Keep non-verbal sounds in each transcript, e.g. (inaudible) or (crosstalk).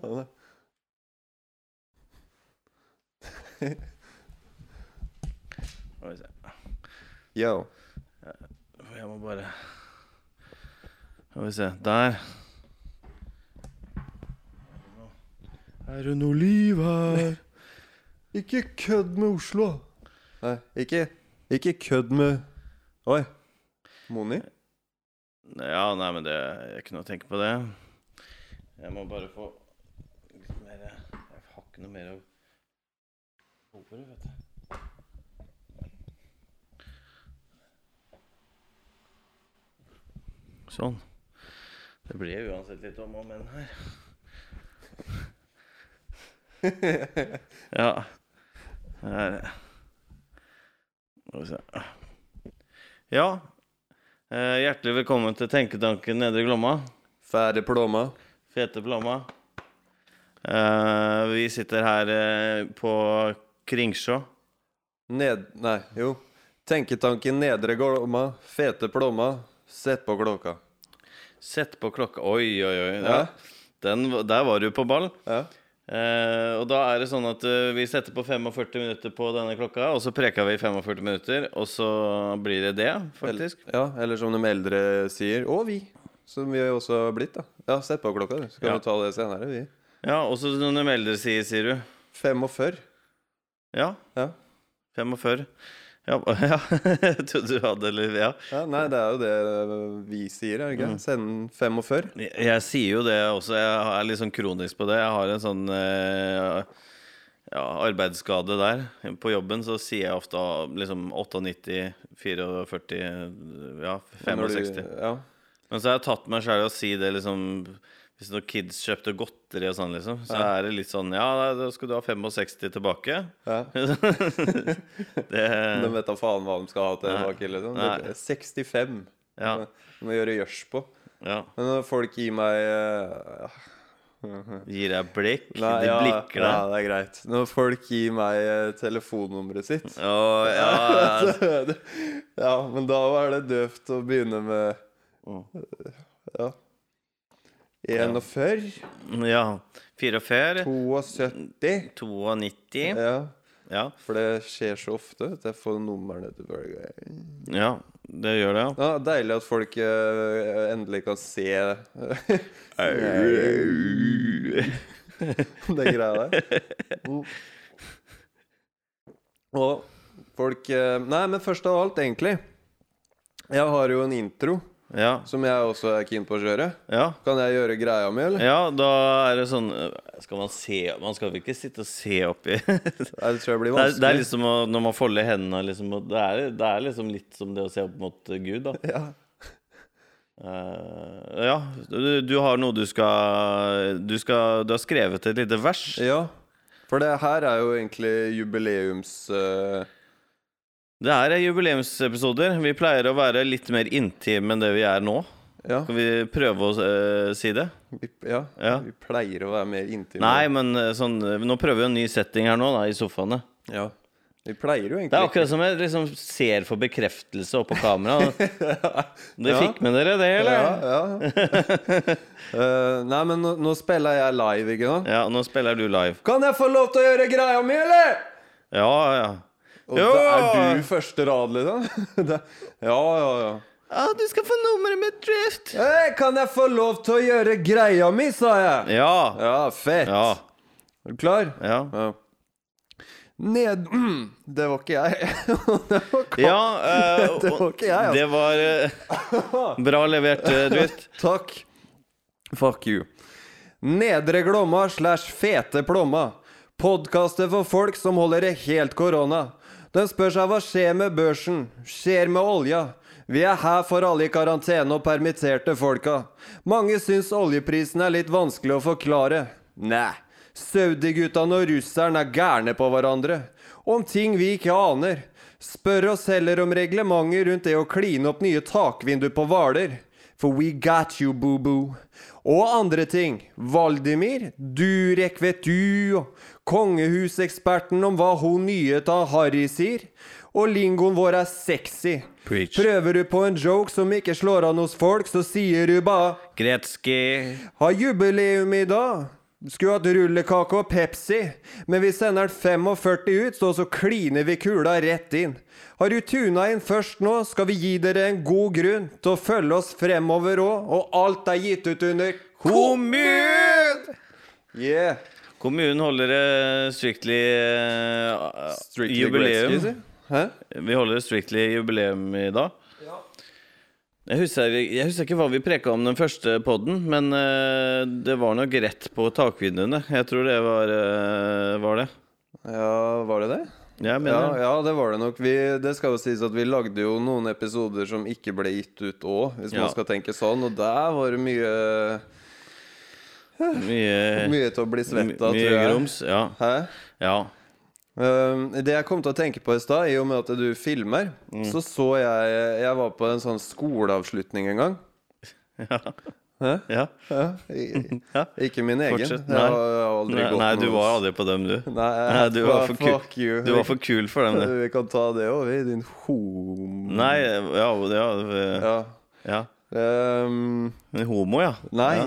Ha det. Skal vi se. Yo. Uh, Jeg må bare Skal vi se. Der. Er det noe liv her? Ikke kødd med Oslo. Nei, ikke, ikke kødd med Oi. Moni? Ja, nei, men det Jeg kunne tenke på det. Jeg må bare få litt mer Jeg har ikke noe mer å gå for, vet du. Sånn. Det blir uansett litt om og men her. ja. Her. Skal vi se. Ja, Eh, hjertelig velkommen til Tenketanken Nedre Glomma. Fære plomma. Fete Glomma. Eh, vi sitter her eh, på Kringsjå. Ned... Nei, jo. Tenketanken nedre glomma. Fete plomma. Sett på klokka. Sett på klokka Oi, oi, oi. Ja. Ja. Den, var- der var du på ball. Ja. Eh, og da er det sånn at eh, vi setter på 45 minutter på denne klokka, og så preker vi i 45 minutter, og så blir det det, faktisk. Ja, eller som de eldre sier. Og vi. Som vi jo også har blitt, da. Ja, sett på klokka, du. Så kan Ja. vi ta det senere, vi. Ja, og så noen de eldre sier, sier du. 45. Ja. Ja. 45. Ja, (laughs) ja. jeg trodde du hadde litt Ja. Ja, nei, det er jo det eh, vi sier, er det Mm. ikke? Send 45. Jeg, jeg sier jo det også. Jeg er litt sånn kronisk på det. Jeg har en sånn eh, ja, arbeidsskade der. På jobben så sier jeg ofte ah, liksom 98, 44, ja, Når du- 65. Ja. Men så har jeg tatt meg sjæl i å si det liksom Hvis noen kids kjøpte godteri og sånn, liksom, så er det litt sånn Ja, nei, da skal du ha 65 tilbake. (laughs) ja. det De vet da faen hva de skal ha til Eh. Nei. baki, liksom. Nei. Det- 65. Ja. Du må gjøre gjørs på. ja. Men når folk gir meg eh, Gir deg blikk. (laughs) nei, de ja, blikker Ja, deg. det er greit. Når folk gir meg eh, telefonnummeret sitt Å, (laughs) (laughs) ja. Ja, men da er det døvt å begynne med Mm. Ja. 41, ja. 44. 72 92. Ja. Ja. For det skjer så ofte at jeg får numrene til folk. ja, det gjør det, ja. Ja, deilig at folk eh, endelig kan se (laughs) det greia der. Mm. (laughs) Og folk eh, Nei, men først av alt, egentlig. Jeg har jo en intro Ja, som jeg også er keen på å kjøre. ja. Kan jeg gjøre greia mi, eller? ja, da er det sånn øh, Skal man se Man skal vel ikke sitte og se oppi (laughs) det, er- Nei, Det tror jeg blir det er vanskelig. liksom å, når man folder hendene liksom, og det, er, det er liksom litt som det å se opp mot øh, Gud, da. Ja. Eh, ja, du, du har noe du skal Du skal Du har skrevet et lite vers. ja. For det her er jo egentlig jubileums... eh, Det her er jubileumsepisoder. Vi pleier å være litt mer intime enn det vi er nå. ja. Skal vi prøve å øh, si det? Vi, ja. Ja. Vi pleier å være mer intime. Nei, men eh, sånn, nå prøver vi en ny setting her nå, da, i sofaene. Ja. Vi pleier jo egentlig Det er akkurat som jeg liksom ser for bekreftelse oppå kamera. (laughs) Det Ja. fikk med dere det, eller? Ja. (laughs) Ja, ja. Eh, nei, men nå, nå spiller jeg live, ikke sant? nå spiller du live. Kan jeg få lov til å gjøre greia mi, eller? Ja, ja. Og da er du første rad, liksom. (laughs) Da- ja, ja, ja. Ja, du skal få nummeret mitt, Drift. Hei, kan jeg få lov til å gjøre greia mi, sa jeg. Ja. Ja, fett. Ja. Er du klar? Ja. Ja. Ned (clears throat) Det var ikke jeg. (laughs) det var Karl. ja eh, (laughs) Det var ikke jeg, altså. Det var eh, bra levert, eh, Drift. Takk. Fuck you. Nedre Glomma slash Fete Plomma. Podkaster for folk som holder det helt korona. Den spør seg hva skjer med børsen, skjer med olja. Vi er her for alle i karantene og permitterte folka. Mange syns oljeprisen er litt vanskelig å forklare. Næ. Saudi-guttene og russeren er gærne på hverandre. Om ting vi ikke aner. Spør oss heller om reglementet rundt det å kline opp nye takvinduer på Hvaler. For we got you, boo-boo. Og andre ting. Valdimir, Durek vet du, og kongehuseksperten om hva hun nyhet av Harry sier. Og lingoen vår er sexy. Preach. Prøver du på en joke som ikke slår an hos folk, så sier du bare Gretzky. Har jubileum i dag. Skulle hatt rullekake og Pepsi, men vi sender den 45 ut, så så kliner vi kula rett inn. Har du tuna inn først nå, skal vi gi dere en god grunn til å følge oss fremover òg, og alt er gitt ut under Kommun! Yeah. Kommunen holder det strictly, eh, Gretzky, jubileum. si. Hæ? Vi holder det strictly jubileum i dag. Jeg husker, jeg husker ikke hva vi preka om den første podden, men eh, det var nok rett på takvinduene. Jeg tror det var, eh, var det. Ja, var det det? Jeg mener Ja, ja, det var det nok. Vi, det skal jo sies at vi lagde jo noen episoder som ikke ble gitt ut òg, hvis Ja. man skal tenke sånn. Og der var det mye mye, Mye til å bli svett av, tror Eh. mye jeg. grums. Ja. Hæ? ja. Um, det jeg kom til å tenke på i stad, i og med at du filmer, Mm. så så jeg Jeg var på en sånn skoleavslutning en gang. Ja. Hæ? ja. Ja. I, Ja. Ikke min egen. Fortsett. Jeg har, jeg har aldri Nei, gått nei, noe- du var aldri på dem, du. Nei, Nei, du var for kul. fuck you. Du var for kul for dem, du. Vi kan ta det òg, vi. Din homo... Nei, ja, ja, Ja. ja. Um, Men Homo, ja. nei,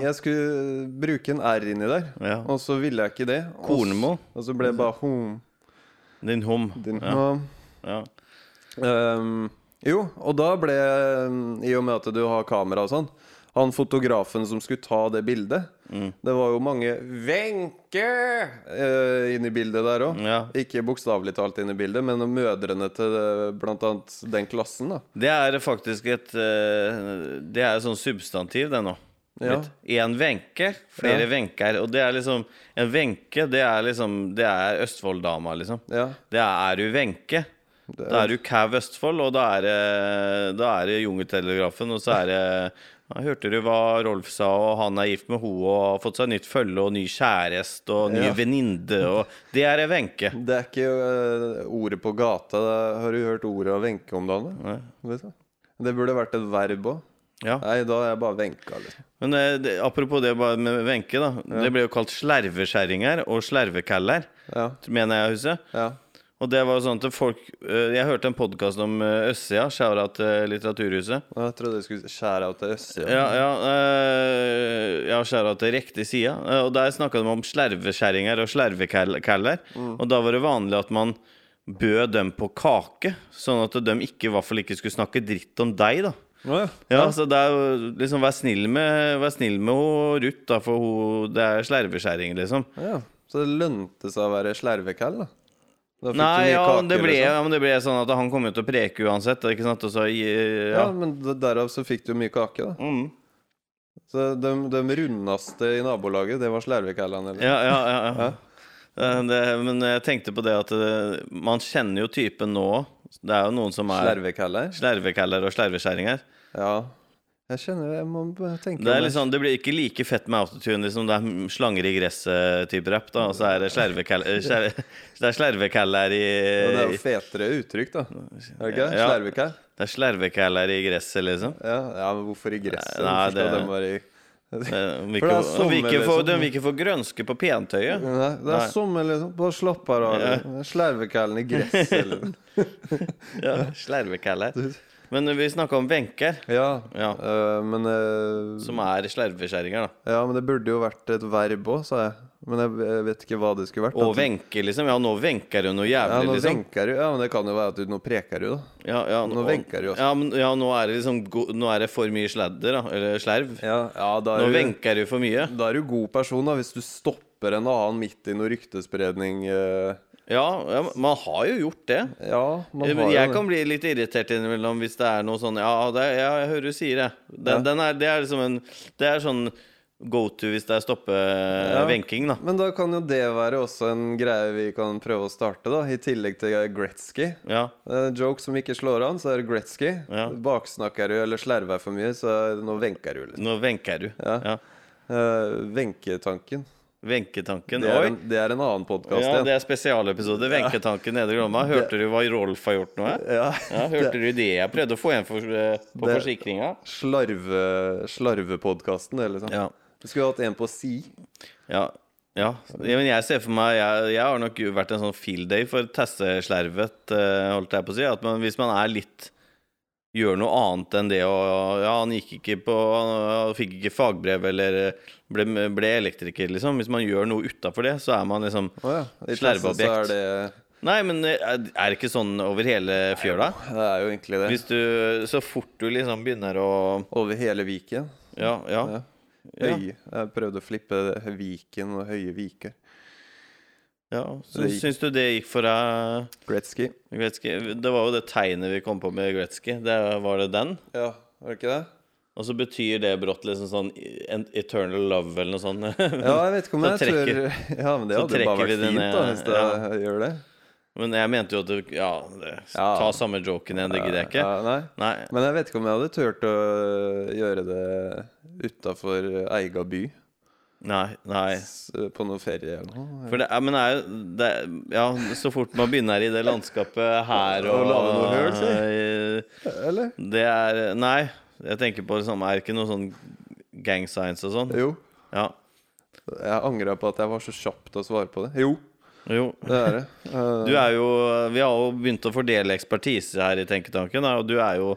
ja. jeg skulle bruke en R inni der, ja. og så ville jeg ikke det. Og s- Kornmo. Og så ble det bare hom... Din hom. Din Ja. hom. Ja. Ehm, jo, og da ble ehm, I og med at du har kamera og sånn Han fotografen som skulle ta det bildet Det var jo mange Venke! eh, Inni bildet der også ja. Ikke bokstavelig talt inni bildet Men mødrene til eh, blant annet den klassen da Det er faktisk et eh, Det er sånn substantiv, det nå. Ja. Én venke, flere Ja. venker. Og det er liksom En venke, det er liksom Det er Østfolddama, liksom. Ja, Det er du Wenche. Det er- Da er du Cav Østfold, og da er det, da er det Jungeltelegrafen. Og så er det ja, Hørte du hva Rolf sa, og han er gift med ho og har fått seg nytt følge og ny kjæreste og ny Ja. venninne, og Det er ei Wenche. det er ikke eh, ordet på gata Det- Har du hørt ordet av venke om dagen? da? Vet du? Det burde vært et verb også Ja. Nei, da er jeg bare venka liksom. Men eh, det, apropos det bare med Wenche, da. Det ble jo kalt slervekjerringer og slervekaller, Ja, mener jeg å huske. ja, Og det var jo sånn at folk eh, Jeg hørte en podkast om eh, Østsida, Sjaurat Litteraturhuset. Og jeg trodde jeg skulle skjære av til Øssia Ja, ja, øh, ja skjæra til riktig side. Eh, Og der snakka de om slerveskjæringer og slervekaller. Og da var det vanlig at man bød dem på kake, sånn at de ikke, i hvert fall ikke skulle snakke dritt om deg, da. Å, ja. Ja, så det er jo liksom Vær snill med, vær snill med ho Ruth, da, for ho, det er slerveskjæring, liksom. Ja, Så det lønte seg å være slervekall, da? Da fikk du mye Nei, ja, men det kaker, ble, liksom. ja, men det ble sånn at han kom jo til å preke uansett. Ikke sant? Og så, ja. ja. men d- derav så fikk du mye kake, da. Mm. Så de, de rundeste i nabolaget, det var slervekallene, eller? Ja, ja, ja, ja. Eh, Det, men jeg tenkte på det at eh, man kjenner jo typen nå. Det er jo noen som er Slervekaller? slervekaller og slerveskjæringer. Ja. Jeg kjenner Jeg må b- tenke Det, er meg- liksom, det blir ikke like fett med autotune liksom det er slanger i gresset-type rapp. da Og så er det slervekaller skjer- (laughs) Det er slervekaller i Ja, Det er jo fetere uttrykk, da. Er det ikke det? Ja. Slervekall? Det er slervekaller i gresset, (laughs) liksom. Ja. ja, men hvorfor i gresset? Nei, Hvorfor skal det- de være i Eh, Om vi For ikke, det er om vi sommer, ikke får, liksom. de vil ikke få grønske på pentøyet. Nei, det Nei. er sommer, liksom. Bare slapp av. Ja. Slervekallen i gresset, eller (laughs) Ja, slervekaller. Du- Men vi snakka om benker, Ja. Ja. eh, men eh, som er slerveskjæringer, da. Ja, men det burde jo vært et verb òg, sa jeg. Men jeg, jeg vet ikke hva det skulle vært. Og At- venker, liksom. Ja, nå venker hun noe ja, jævlig, nå liksom. venker du. Ja, men det kan jo være at du nå preker du, da. Ja, ja, Nå og- venker du også. Ja, men, ja, nå er det liksom go Nå er det for mye sladder, da. Eller slerv. Ja, da, Nå er du, venker du for mye. da er du god person, da, hvis du stopper en annen midt i noe ryktespredning. eh. Ja, ja men man har jo gjort det. Ja, man har Men jo Jeg det. kan bli litt irritert innimellom hvis det er noe sånn Ja, det er, ja jeg hører du sier det. Den, Ja. den er, det er liksom en Det er sånn go to hvis det er stoppe venking, da. Men da kan jo det være også en greie vi kan prøve å starte, da. I tillegg til Gretzky. Ja. Eh, joke som ikke slår an, så er det Gretzky. Ja. Baksnakker du eller slerver for mye, så er det nå venker du, liksom. Nå venker du. Ja. Ja. Eh, Venketanken. Venketanken. Det er, Oi. en, det er en annen podkast ja, det er spesialepisode. Venketanken nede i Glomma. Hørte du hva Rolf har gjort nå? jeg? Ja. Ja, hørte du det? Jeg prøvde å få en for, eh, på Det- forsikringa. (laughs) Slarve, slarvepodkasten, det, liksom. Ja. Du skulle hatt en på si. Ja. ja. ja men jeg ser for meg jeg, jeg har nok vært en sånn field day for tesseslervet, eh, holdt jeg på å si. At man, hvis man er litt gjøre noe annet enn det å Ja, han gikk ikke på Han fikk ikke fagbrev eller ble, ble elektriker, liksom. Hvis man gjør noe utafor det, så er man liksom Å ja. I klassen så slerveobjekt. er det Nei, men eh, er er det ikke sånn over hele fjøla? Det er jo egentlig det. Hvis du Så fort du liksom begynner å Over hele Viken. Ja, ja. Ja. Ja. Høy. Jeg prøvde å flippe det. Viken og Høye Viker. ja. Så Det gikk- syns du det gikk for deg, Gretzky. Gretzky? Det var jo det tegnet vi kom på med Gretzky. Det, var det den? Ja, var det ikke det? Og så betyr det brått liksom sånn en- Eternal love eller noe sånt. (laughs) Ja, jeg vet ikke om Så jeg tør (laughs) Ja, men det så hadde jo bare trekker vi vært det fint, ned, da, hvis det ja. gjør det. Men jeg mente jo at du Ja, det, Ja. ta samme joken igjen, det gidder jeg ikke. Ja, nei. Nei. Men jeg vet ikke om jeg hadde turt å gjøre det utafor eiga by. Nei. nei. s- På noe ferie eller noe. For det er, men det er jo det, er- Ja, så fort man begynner i det landskapet her Og og lage noe høl, Eller? Det er Nei. Jeg tenker på det samme. Er det ikke noe sånn gang science og sånn? Jo. Ja. Jeg angra på at jeg var så kjapp til å svare på det. Jo, Jo. det er (laughs) det. Eh, Du er jo Vi har jo begynt å fordele ekspertise her i Tenketanken, da, og du er jo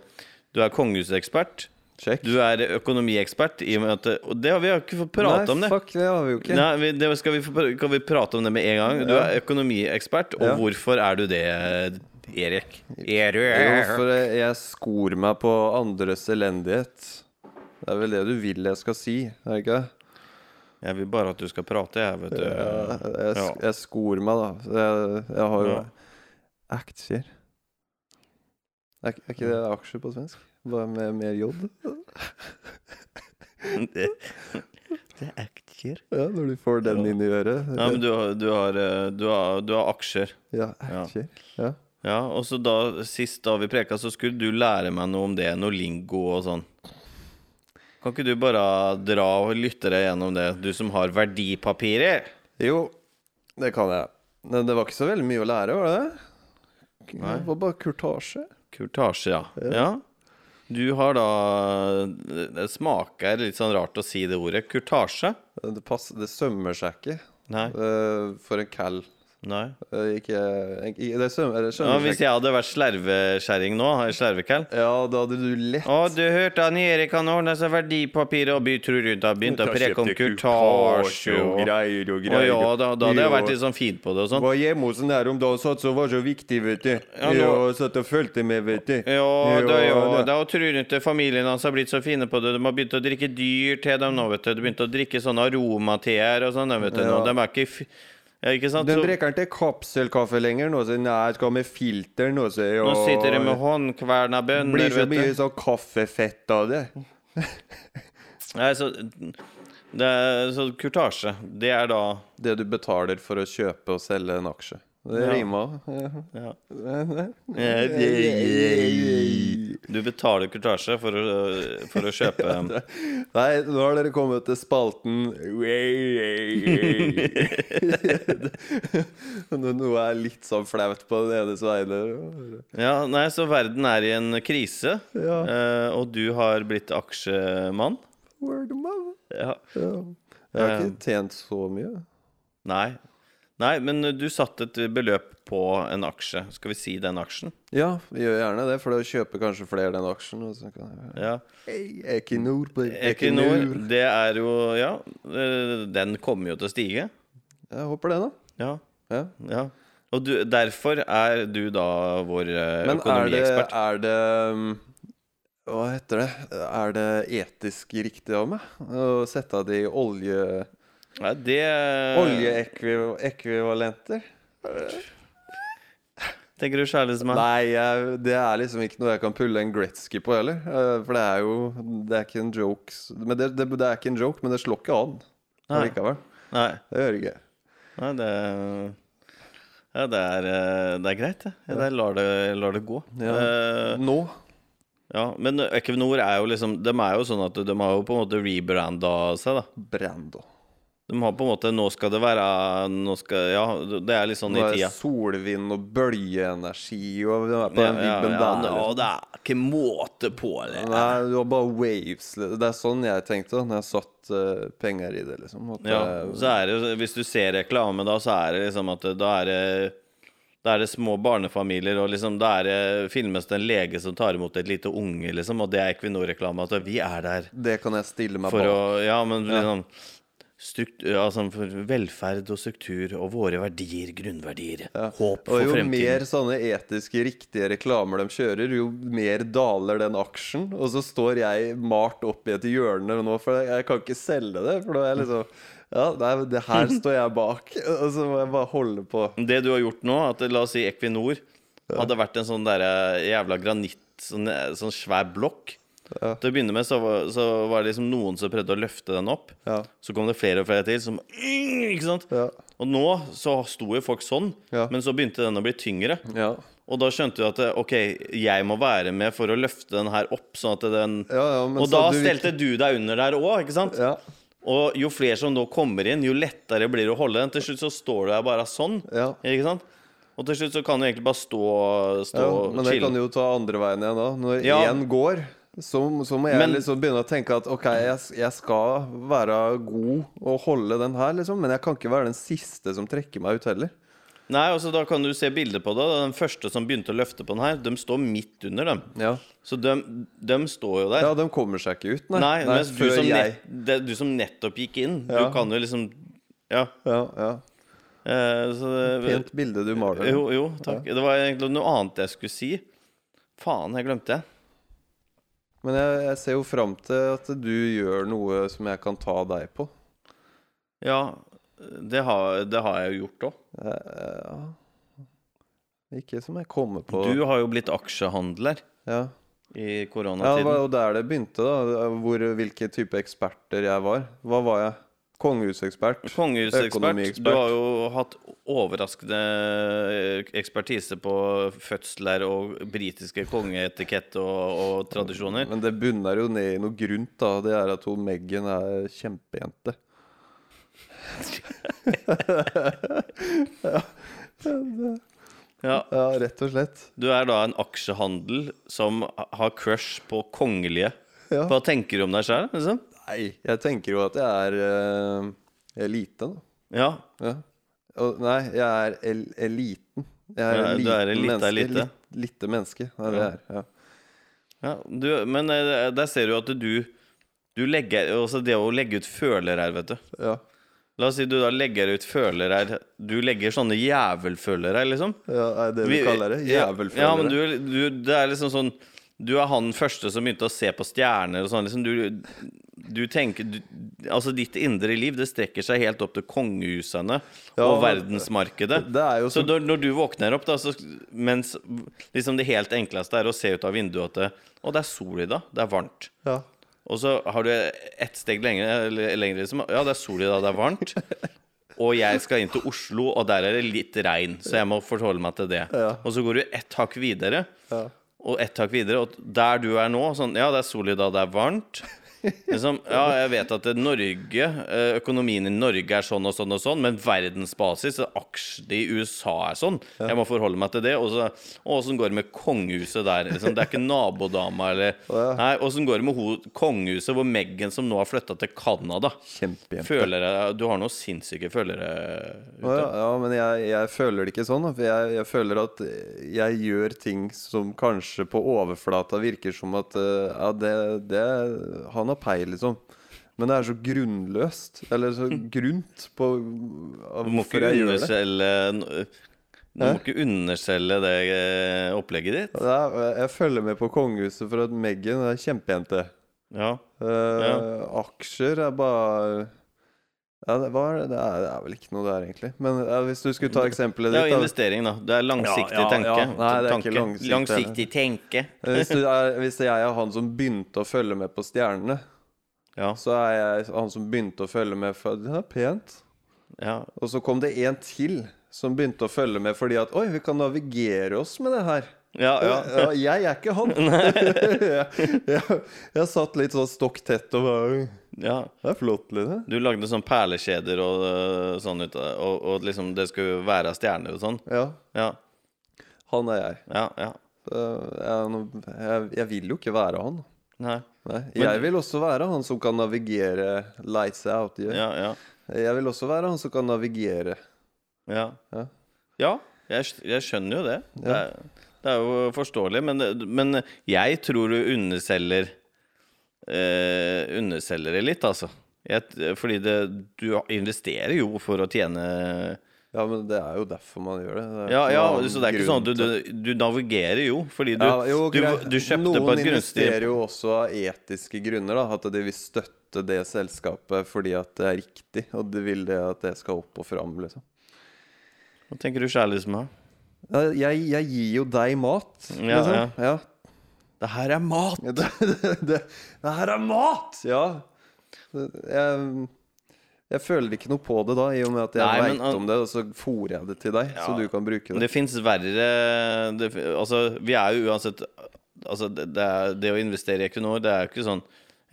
Du er kongehusekspert. Sjekk. Du er økonomiekspert i og med at det- Og det har vi har ikke fått prate om, det. Nei, fuck, det har vi jo ikke. Nei, vi, det skal vi, få pr- kan vi prate om det med en gang? Du er økonomiekspert, og Ja. hvorfor er du det, Erik? Jo, Erik. for jeg- jeg skor meg på andres elendighet. Det er vel det du vil jeg skal si, er det ikke det? Jeg vil bare at du skal prate, jeg, vet du. (laughs) Jeg, jeg, Ja. sk- jeg skor meg, da. Så Jeg, jeg har jo Ja. aktier. Er, ikke- er ikke det aksjer på svensk? Bare med mer J? Det det er aktier. Ja, når du får den Ja. inn i øret. Ja, men du, har- du, har, eh, du, har, du har aksjer. Ja, aktier. Ja. Ja, og så da, Sist da vi preka, så skulle du lære meg noe om det. Noe lingo og sånn. Kan ikke du bare dra og lytte deg gjennom det, du som har verdipapirer? Jo, det kan jeg. Men det var ikke så veldig mye å lære, var det? Nei. Det var bare kurtasje. Kurtasje, ja. ja. Du har da Det smaker litt sånn rart å si det ordet. Kurtasje? Det, pass, det sømmer seg ikke Nei. eh, for en cal. Nei. Eh, Ikke, ikke Det sømmer, det Ja, sømmer seg hvis jeg hadde vært slervekjerring nå, slervekall ikke. Ja, da hadde du lett Å, du hørte han Erik han ordna seg verdipapirer og by tror rundt har begynt å preke om kurtasje og greier og Å ja, da, da hadde jeg vært litt sånn fin på det og sånn. Var hjemme hos den her om dagen, satt så var så viktig, vet du. Ja, nå- Og satt og fulgte med, vet du. Ja, da, ja, da. da og tror ikke familien hans har blitt så fine på det. De har begynt å drikke dyr te, de nå, vet du. De begynte å drikke sånne aromateer og sånn, de, vet du. Nå, Ja. de er ikke f... Ja, ikke sant? Den Så, drikker ikke kapselkaffe lenger nå, så nei, jeg skal med filter nå, så nå og- sitter de med håndkverna Blir bønner, så vet mye du. sånn kaffefett av det. Nei, så det er, Så kurtasje, det er da Det du betaler for å kjøpe og selge en aksje. Det Ja. rimer. ja. Nei, Du betaler kurtasje for å, for å (laughs) kjøpe nå har dere kommet til spalten (laughs) Nå- Noe er litt sånn flaut på den enes vegne. Ja, nei, så verden er i en krise, Ja. eh, og du har blitt aksjemann. Word of mouth. Ja. Ja. Jeg har Eh. ikke tjent så mye. Nei. Nei, men du satte et beløp på en aksje. Skal vi si den aksjen? Ja, vi gjør gjerne det, for det kjøper kanskje flere den aksjen. Og så kan jeg... Ja. Hey, Equinor, på- Equinor, det er jo Ja, eh, den kommer jo til å stige. Jeg håper det, da. Ja. Ja. ja. Og du, derfor er du da vår eh, Men er det, økonomiekspert. er det um, Hva heter det? Er det etisk riktig av meg å sette av de olje, Nei, det Eh. oljeekvivalenter? Tenker du kjærlighetsmann? Nei, jeg, det er liksom ikke noe jeg kan pulle en Gretzky på heller. eh, For det er jo Det er ikke en joke s- Men det, det, det er ikke en joke, men det slår ikke an Nei. likevel. Nei. Det gjør det ikke. Nei, det ja, det, er, eh, det er greit, det. Ja, det lar det, lar det gå. Ja. Eh, Nå? Ja, men Equinor er jo liksom De er jo sånn at de har jo på en måte rebranda seg, da. Brando. De har på en måte Nå skal det være nå skal, Ja, det er litt sånn Nå i er det tida. solvind og bølgeenergi og vi er Ja, på den ja, vibben ja, der. nå- det er ikke måte på det. Nei, det var bare waves. Det er sånn jeg tenkte da når jeg satt eh, penger i det, liksom. At Ja, jeg- så er det, jo- hvis du ser reklame, da, så er det liksom at det- da er det Da er det små barnefamilier, og liksom, da er det filmes det en lege som tar imot et lite unge, liksom, og det er Equinor-reklame. At vi er der Det kan jeg stille meg for bak. å Ja, men liksom strukt- ja, sånn for velferd og struktur og våre verdier, grunnverdier. Håp for Og jo fremtiden. mer sånne etiske riktige reklamer de kjører, jo mer daler den aksjen. Og så står jeg malt opp i et hjørne nå, for jeg kan ikke selge det. For da er jeg liksom Ja, nei, men det (laughs) her står jeg bak. Og så må jeg bare holde på. Det du har gjort nå, at la oss si Equinor hadde vært en sånn der eh, jævla granitt, sånn, eh, sånn svær blokk. Ja. Til å begynne med så var, så var det liksom noen som prøvde å løfte den opp. Ja. Så kom det flere og flere til som (clears throat) Ikke sant? Ja. Og nå så sto jo folk sånn, Ja. men så begynte den å bli tyngre. Ja. Og da skjønte du at eh, OK, jeg må være med for å løfte den her opp, sånn at den Ja, ja, men Og da så du- stelte du deg under der òg, ikke sant? Ja. Og jo flere som nå kommer inn, jo lettere blir det å holde den. Til slutt så står du der bare sånn. Ja. Ikke sant? Og til slutt så kan du egentlig bare stå, stå ja. og Men jeg chille. kan jo ta andre veien igjen da. Når én Ja. går, så, så må jeg Men- liksom begynne å tenke at OK, jeg, jeg skal være god og holde den her, liksom. Men jeg kan ikke være den siste som trekker meg ut heller. Nei, altså Da kan du se bilder på det. Den første som begynte å løfte på den her, de står midt under dem. Ja Så de, de står jo der. Ja, de kommer seg ikke ut, nei. Nei, mens du før som, jeg. nett, det, du som nettopp gikk inn, Ja. du kan jo liksom Ja. Ja, ja. Eh, så det, Pent bilde du maler. Jo, jo, takk. Det var egentlig noe annet jeg skulle si. Faen, jeg glemte det. Men jeg, jeg ser jo fram til at du gjør noe som jeg kan ta deg på. Ja, det har, det har jeg jo gjort òg. Eh, Ja. Ikke som jeg kommer på. Du har jo blitt aksjehandler Ja. i ja, det koronatiden. var jo der det begynte, da. Hvor, hvilke type eksperter jeg var. Hva var jeg? Kongehusekspert. Kongehusekspert. Økonomiekspert. Du har jo hatt overraskende ekspertise på fødsler og britiske kongeetikett og, og tradisjoner. Men det bunner jo ned i noe grunt, da. Det er at hun Meghan er kjempejente. Ja, Ja, rett og slett. du er da en aksjehandel som har crush på kongelige. Ja. Hva tenker du om deg sjøl? Liksom? Nei, jeg tenker jo at jeg er eh, elite, da. Ja. Ja. Og, nei, jeg er el eliten. Jeg Ja, du er en lita elite. Litt, lite menneske. Nei, det er, ja. ja du, men eh, der ser du at du, du legger Også det å legge ut føler her, vet du. Ja. La oss si du da legger ut føler her. Du legger sånne jævelføler her, liksom. ja, er det vi, Vi- kaller det? ja, Jævelfølere. Ja, men du, du, det er liksom sånn Du er han første som begynte å se på stjerner og sånn. Liksom, du, du tenker du, Altså, ditt indre liv, det strekker seg helt opp til kongehusene og Ja, verdensmarkedet. det er jo sånn- så så- når, når du våkner opp, da, så Mens liksom det helt enkleste er å se ut av vinduet at det, Å, det er sol i dag. Det er varmt. Ja. Og så har du ett steg lenger, eller lenger liksom. Ja, det er sol i dag, det er varmt. Og jeg skal inn til Oslo, og der er det litt regn, så jeg må forholde meg til det. Og så går du ett hakk videre, Ja. og ett hakk videre, og der du er nå sånn, Ja, det er sol i dag, det er varmt. Liksom, ja, jeg vet at det Norge, eh, økonomien i Norge er sånn og sånn og sånn, men verdensbasis, eh, aksjene i USA er sånn. Jeg må forholde meg til det. Og så- og åssen går det med kongehuset der? Liksom, det er ikke nabodama eller Nei, åssen går det med ho kongehuset hvor Meghan, som nå har flytta til Canada Kjempejente. Føler jeg, Du har noen sinnssyke følere Å, ute. Ja, ja, men jeg, jeg føler det ikke sånn. da, For jeg, jeg føler at jeg gjør ting som kanskje på overflata virker som at eh, Ja, det, det Han har peil, liksom. Men det er så grunnløst. Eller (laughs) så grunt på av Du må ikke hvorfor jeg gjør det. underselge Du må ikke underselge det eh, opplegget ditt. Det er, jeg følger med på kongehuset for at Meghan er kjempejente. Ja. Eh, Aksjer er bare ja, det, hva er det? Det, er, det er vel ikke noe der, egentlig. Men ja, hvis du skulle ta eksempelet Det er ditt jo da. investering, da. Det er langsiktig Ja, ja, tenke. ja. Nei, det er ikke Tanke. langsiktig. langsiktig tenke. Hvis, du er, hvis jeg er han som begynte å følge med på stjernene, Ja, så er jeg han som begynte å følge med for Det er pent. ja. Og så kom det en til som begynte å følge med fordi at Oi, vi kan navigere oss med det her. ja, ja. Ja, jeg er ikke han. (laughs) (laughs) jeg, jeg, jeg satt litt sånn stokk tett og bare «Oi, ja. Det er flott, Line. Du lagde sånn perlekjeder og øh, sånn ut av det, og, og liksom det skulle være stjerner og sånn. Ja, Ja, han er jeg. ja, ja. Så Jeg, er no- jeg, jeg vil jo ikke være han. Nei. Nei, jeg vil også være han som kan navigere lights out. Yeah. Ja, ja. Jeg vil også være han som kan navigere. Ja. Ja. ja. Jeg, skj- jeg skjønner jo det. Det, er, det er jo forståelig. Men, det- men jeg tror du underselger eh, Underselger det litt, altså. Jeg, fordi det, du investerer jo for å tjene Ja, men det er jo derfor man gjør det. det er Ja, ikke ja noen annen så det er ikke grunn sånn at du, til- du, du navigerer jo, fordi du, Ja, jo, du, greit. du kjøpte Noen på et gunstig investerer jo også av etiske grunner, da. At de vil støtte det selskapet fordi at det er riktig, og de vil det at det skal opp og fram, liksom. Hva tenker du kjærlighetsmessig? Ja, Jeg, jeg gir jo deg mat, Ja, liksom. Ja. (laughs) Det her er mat! Det, det, det, det her er mat! Ja. Jeg, jeg føler ikke noe på det da, i og med at Nei, jeg men, veit om det, og så fòrer jeg det til deg, så Ja. du kan bruke Men det. Det fins verre det, fin- Altså, vi er jo uansett Altså, det, det, er, det å investere i Equinor, det er jo ikke sånn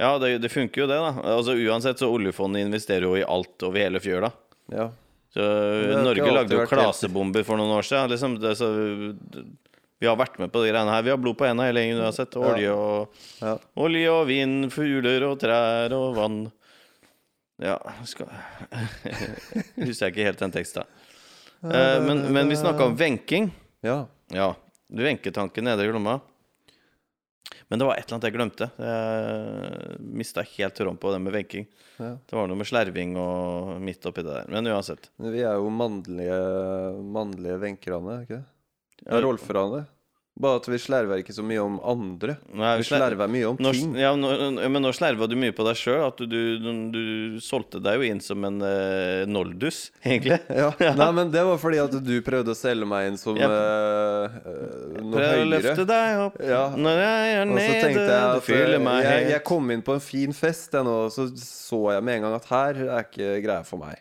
Ja, det, det funker jo det, da. Altså, uansett så oljefondet investerer jo i alt over hele fjøla. Ja. Så har ikke Norge lagde jo alltid vært klasebomber for noen år siden. Liksom, det, så, vi har vært med på de greiene her. Vi har blod på henda hele gjengen uansett. Og Olje og, Ja. olje og vind, fugler og trær og vann. Ja skal... (laughs) Husker jeg ikke helt den teksten. Eh, men, men vi snakka om venking. ja. Ja. Du venketanken nede i glomma. Men det var et eller annet jeg glemte. Jeg mista helt tråden på det med venking. Ja. Det var noe med slerving og midt oppi det der. Men uansett. Vi er jo mannlige, mannlige venkerane, er ikke det? Ja, Rolfrane. Bare at vi slerver ikke så mye om andre. Eh, Nei, Vi slerver mye om Når, (laughs) ting. ja, når, ja, men nå slerva du mye på deg sjøl. At du, du, du, solgte deg jo inn som en eh, noldus, egentlig. Ja. Nei, men det var fordi at du prøvde å selge meg inn som Ja. eh, eh, noe Prøv å løfte høyere. deg opp Ja. når jeg er Og så tenkte nede. jeg Du at eh, fyller meg jeg, helt. jeg kom inn på en fin fest, jeg nå, og så så jeg med en gang at her er ikke greia for meg.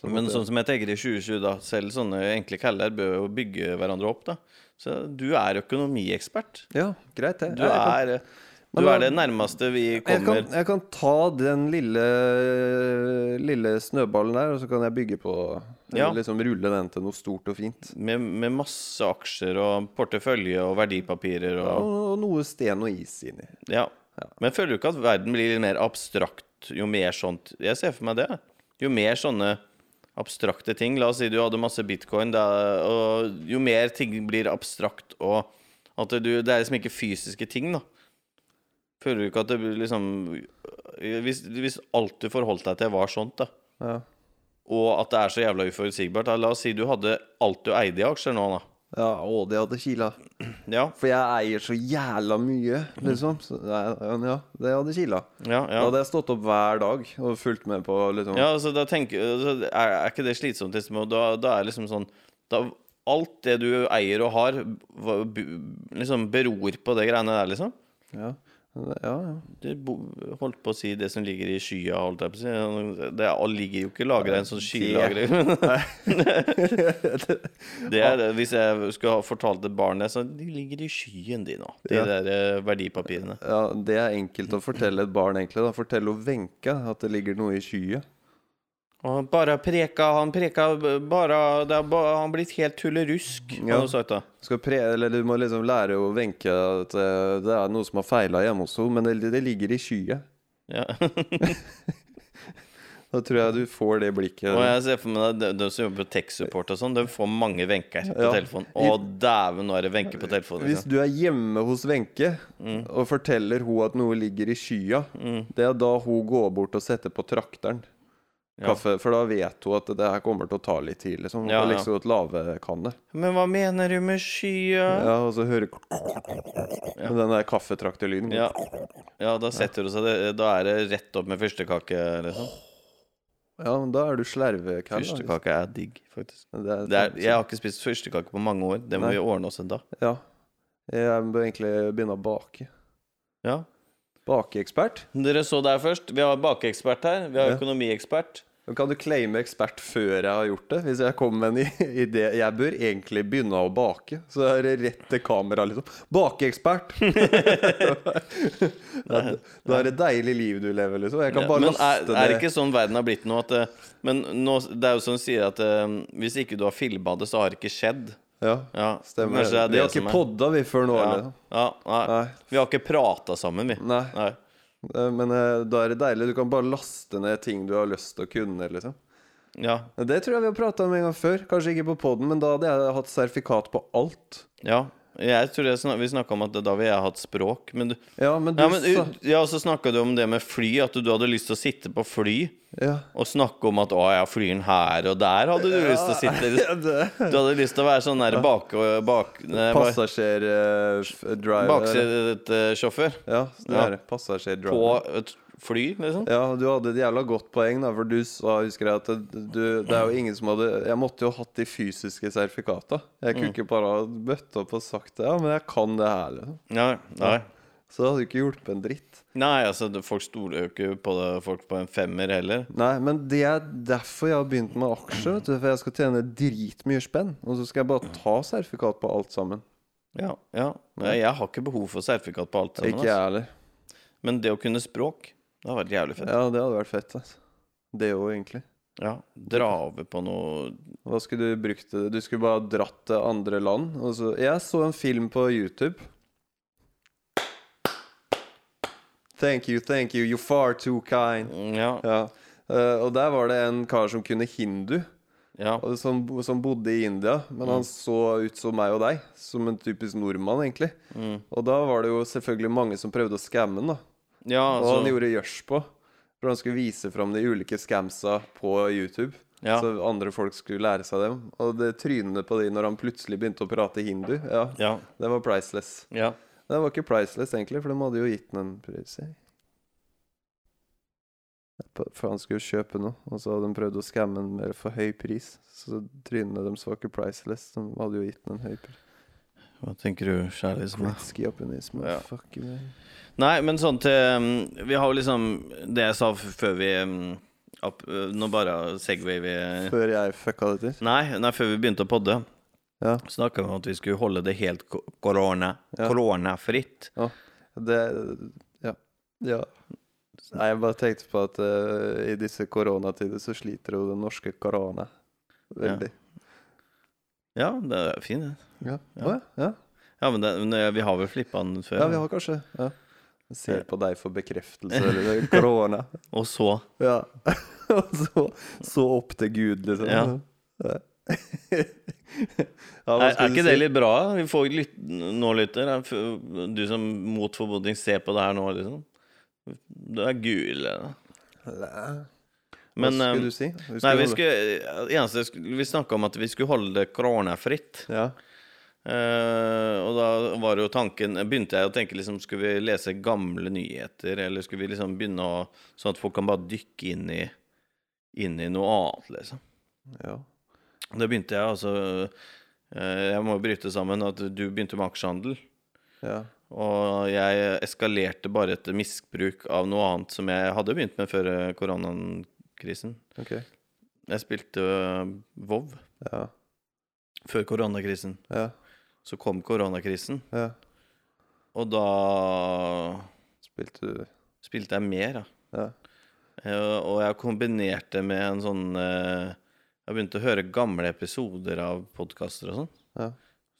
Så Men måtte jeg- sånn som jeg tenker i 2020, da, selv sånne enkle kaller bør jo bygge hverandre opp, da. Så du er økonomiekspert. Ja, greit, det. Du Jeg kan- er, Men du da- er det nærmeste vi jeg kommer. kan, jeg kan ta den lille, lille snøballen der, og så kan jeg bygge på Ja. Liksom rulle den til noe stort og fint. Med, med masse aksjer og portefølje og verdipapirer og Og, og noe sten og is inni. Ja. Men føler du ikke at verden blir litt mer abstrakt jo mer sånt Jeg ser for meg det. Jo mer sånne abstrakte ting La oss si du hadde masse bitcoin, da, og jo mer ting blir abstrakt og At du, det er liksom ikke fysiske ting, da. Føler du ikke at det blir liksom Hvis, hvis alt du forholdt deg til, var sånt, da, Ja. og at det er så jævla uforutsigbart da, La oss si du hadde alt du eide i aksjer nå, da. Ja, å, det hadde kila. Ja, For jeg eier så jævla mye, liksom. Så, nei, ja, det hadde kila. ja, ja. Da hadde jeg stått opp hver dag og fulgt med på liksom Ja, altså, da tenker, altså, er, er ikke det slitsomt? Liksom? Og Da, da er liksom sånn da, Alt det du eier og har, hva- bu- liksom beror på det greiene der, liksom. Ja, ja. ja. Du bo- holdt på å si det som ligger i skya, holdt jeg på å si. Det er- ligger jo ikke lagra i en sånn skylagre. (laughs) det er, det. hvis jeg skulle ha fortalt et barn det, så de ligger i skyen, de nå. De Ja. der eh, verdipapirene. ja det er enkelt å fortelle et barn, egentlig. da Fortell å Wenche at det ligger noe i skyet. Og han bare preka, han preka bare det er ba, Han blitt helt tullerusk, Ja. har du sagt da. Skal pre eller du må liksom lære å Wenche at eh, det er noe som har feila hjemme hos henne, men det, det ligger i skyet. Ja. (laughs) Da tror jeg du får det blikket. Og jeg ser for meg de, de som jobber på tech-support og sånn, de får mange venker på Ja. telefonen. Å, dæven, nå er det venker på telefonen. Hvis Liksom. du er hjemme hos Wenche Mm. og forteller hun at noe ligger i skya, det er da hun går bort og setter på trakteren. Ja. Kaffe, For da vet hun at det her kommer til å ta litt tid. Liksom. Hun Ja, får ja. liksom et lavekanne. Men hva mener du med skya? Ja, og så hører Men Den der kaffetrakterlyden. Ja. ja, da setter du seg det. Da er det rett opp med fyrstekake, liksom. Ja, men da er du slervekall. da. Fyrstekake er digg, faktisk. Det er, Det er, jeg har ikke spist fyrstekake på mange år. Det må vi ordne oss en dag. Ja. Jeg bør egentlig begynne å bake. Ja. Bakeekspert? Dere så der først. Vi har bakeekspert her. Vi har Ja. økonomiekspert. Kan du claime ekspert før jeg har gjort det? Hvis jeg kommer med en i- idé Jeg bør egentlig begynne å bake. Så er det rett til kamera, liksom. Bakeekspert! (laughs) da, da er det deilig liv du lever, liksom. Jeg kan Ja, bare men er, laste er det det ikke sånn verden har blitt nå? At, eh, men nå, det er jo sånn de sier at eh, hvis ikke du har filma det, så har det ikke skjedd. Ja, Ja, stemmer. kanskje det er vi har det som ikke er- podda, vi, før nå. Ja, Liksom. ja, nei. Nei. Vi har ikke prata sammen, vi. Nei. Eh, Men eh, da er det deilig. Du kan bare laste ned ting du har lyst til å kunne, liksom. Ja. Det tror jeg vi har prata om en gang før. Kanskje ikke på poden, men da hadde jeg hatt sertifikat på alt. ja. Jeg tror jeg snak, Vi snakka om at da ville jeg hatt språk, men du Ja, men du Ja, men sa u- ja, så snakka du om det med fly, at du hadde lyst til å sitte på fly ja. og snakke om at 'å, jeg flyr den her og der', hadde du lyst til å sitte. (laughs) sitte Du hadde lyst til å være sånn der bak... bak nei, hva- Passasjerdriver. Baksidesjåfør eh, Ja, det Ja. er det. Passasjerdriver. på et fly, liksom. Ja, og du hadde et jævla godt poeng, da, for du sa, husker jeg, at det- du, det er jo ingen som hadde Jeg måtte jo hatt de fysiske sertifikata. Jeg Mm. kunne ikke bare ha bøtt opp og sagt det. Ja, men jeg kan det her, liksom. Ja, nei. Så det hadde jo ikke hjulpet en dritt. nei, altså det- folk stoler jo ikke på det, folk på en femmer heller. Nei, men det er derfor jeg har begynt med aksjer, vet du. For jeg skal tjene dritmye spenn. Og så skal jeg bare ta sertifikat på alt sammen. Ja, ja. Nei, Jeg har ikke behov for sertifikat på alt sammen. Ikke jeg Altså. heller. Men det å kunne språk, det har vært jævlig fett. Ja, det hadde vært fett, altså. Det òg, egentlig. Ja, Dra over på noe Hva skulle du brukt det Du skulle bare dratt til andre land. Og så, jeg så en film på YouTube. Thank you, thank you, you far too kind. mm, Ja. Ja. Eh, og der var det en kar som kunne hindu, ja. og som, som bodde i India. Men han så ut som meg og deg, som en typisk nordmann, egentlig. Mm. Og da var det jo selvfølgelig mange som prøvde å skamme han, da. ja Og han altså, gjorde gjørs på. For han skulle vise fram de ulike scamsa på YouTube. Ja. Så andre folk skulle lære seg dem. Og det trynene på de når han plutselig begynte å prate hindu, ja, ja, det var priceless. ja. Det var ikke priceless, egentlig, for de hadde jo gitt den en pris. jeg. For han skulle jo kjøpe noe, og så hadde de prøvd å skamme den med for høy pris. Så trynene deres var ikke priceless. De hadde jo gitt den en høy pris. Hva tenker du, kjærligheten? Klitski up in this motherfucker, man. Nei, men sånn til um, Vi har jo liksom Det jeg sa f- før vi um, opp, uh, Nå bare segway vi Før jeg fucka det til. nei, nei, før vi begynte å podde, Ja. snakka vi om at vi skulle holde det helt ko- korona Ja. koronafritt. Det Ja. ja. Nei, jeg bare tenkte på at eh, i disse koronatider så sliter jo den norske korona veldig. Ja, det er fint, det. Ja. Ja. Å ja. ja. Ja, men, det, men det- vi har vel flippa den før. Ja, vi har kanskje ja. Jeg Ser på deg for (laughs) bekreftelse, eller det er korona. Og så Ja. (laughs) Og så, så opp til Gud, liksom. Ja. (laughs) Ja. er, er ikke det litt bra? Vi får lyt, nå lytter. er f- Du som mot formodning ser på det her nå, liksom. Du er gul. ja. Men Men Hva um, skulle du si? Vi Nei, vi holde- skulle, eneste, jeg skulle- vi snakka om at vi skulle holde det koronafritt. Ja. Eh, og da var det jo tanken Begynte jeg å tenke liksom Skulle vi lese gamle nyheter, eller skulle vi liksom begynne å Sånn at folk kan bare dykke inn i Inn i noe annet, liksom. ja. Da begynte jeg altså eh, Jeg må bryte sammen at du begynte med aksjehandel. Ja. Og jeg eskalerte bare et misbruk av noe annet som jeg hadde begynt med før eh, koronakrisen. OK. Jeg spilte eh, Vov. Ja. Før koronakrisen. Ja. Så kom koronakrisen, ja. og da Spilte du spilte jeg mer, da. Ja. Eh, Og jeg kombinerte med en sånn eh, Jeg begynte å høre gamle episoder av podkaster og sånn. Ja.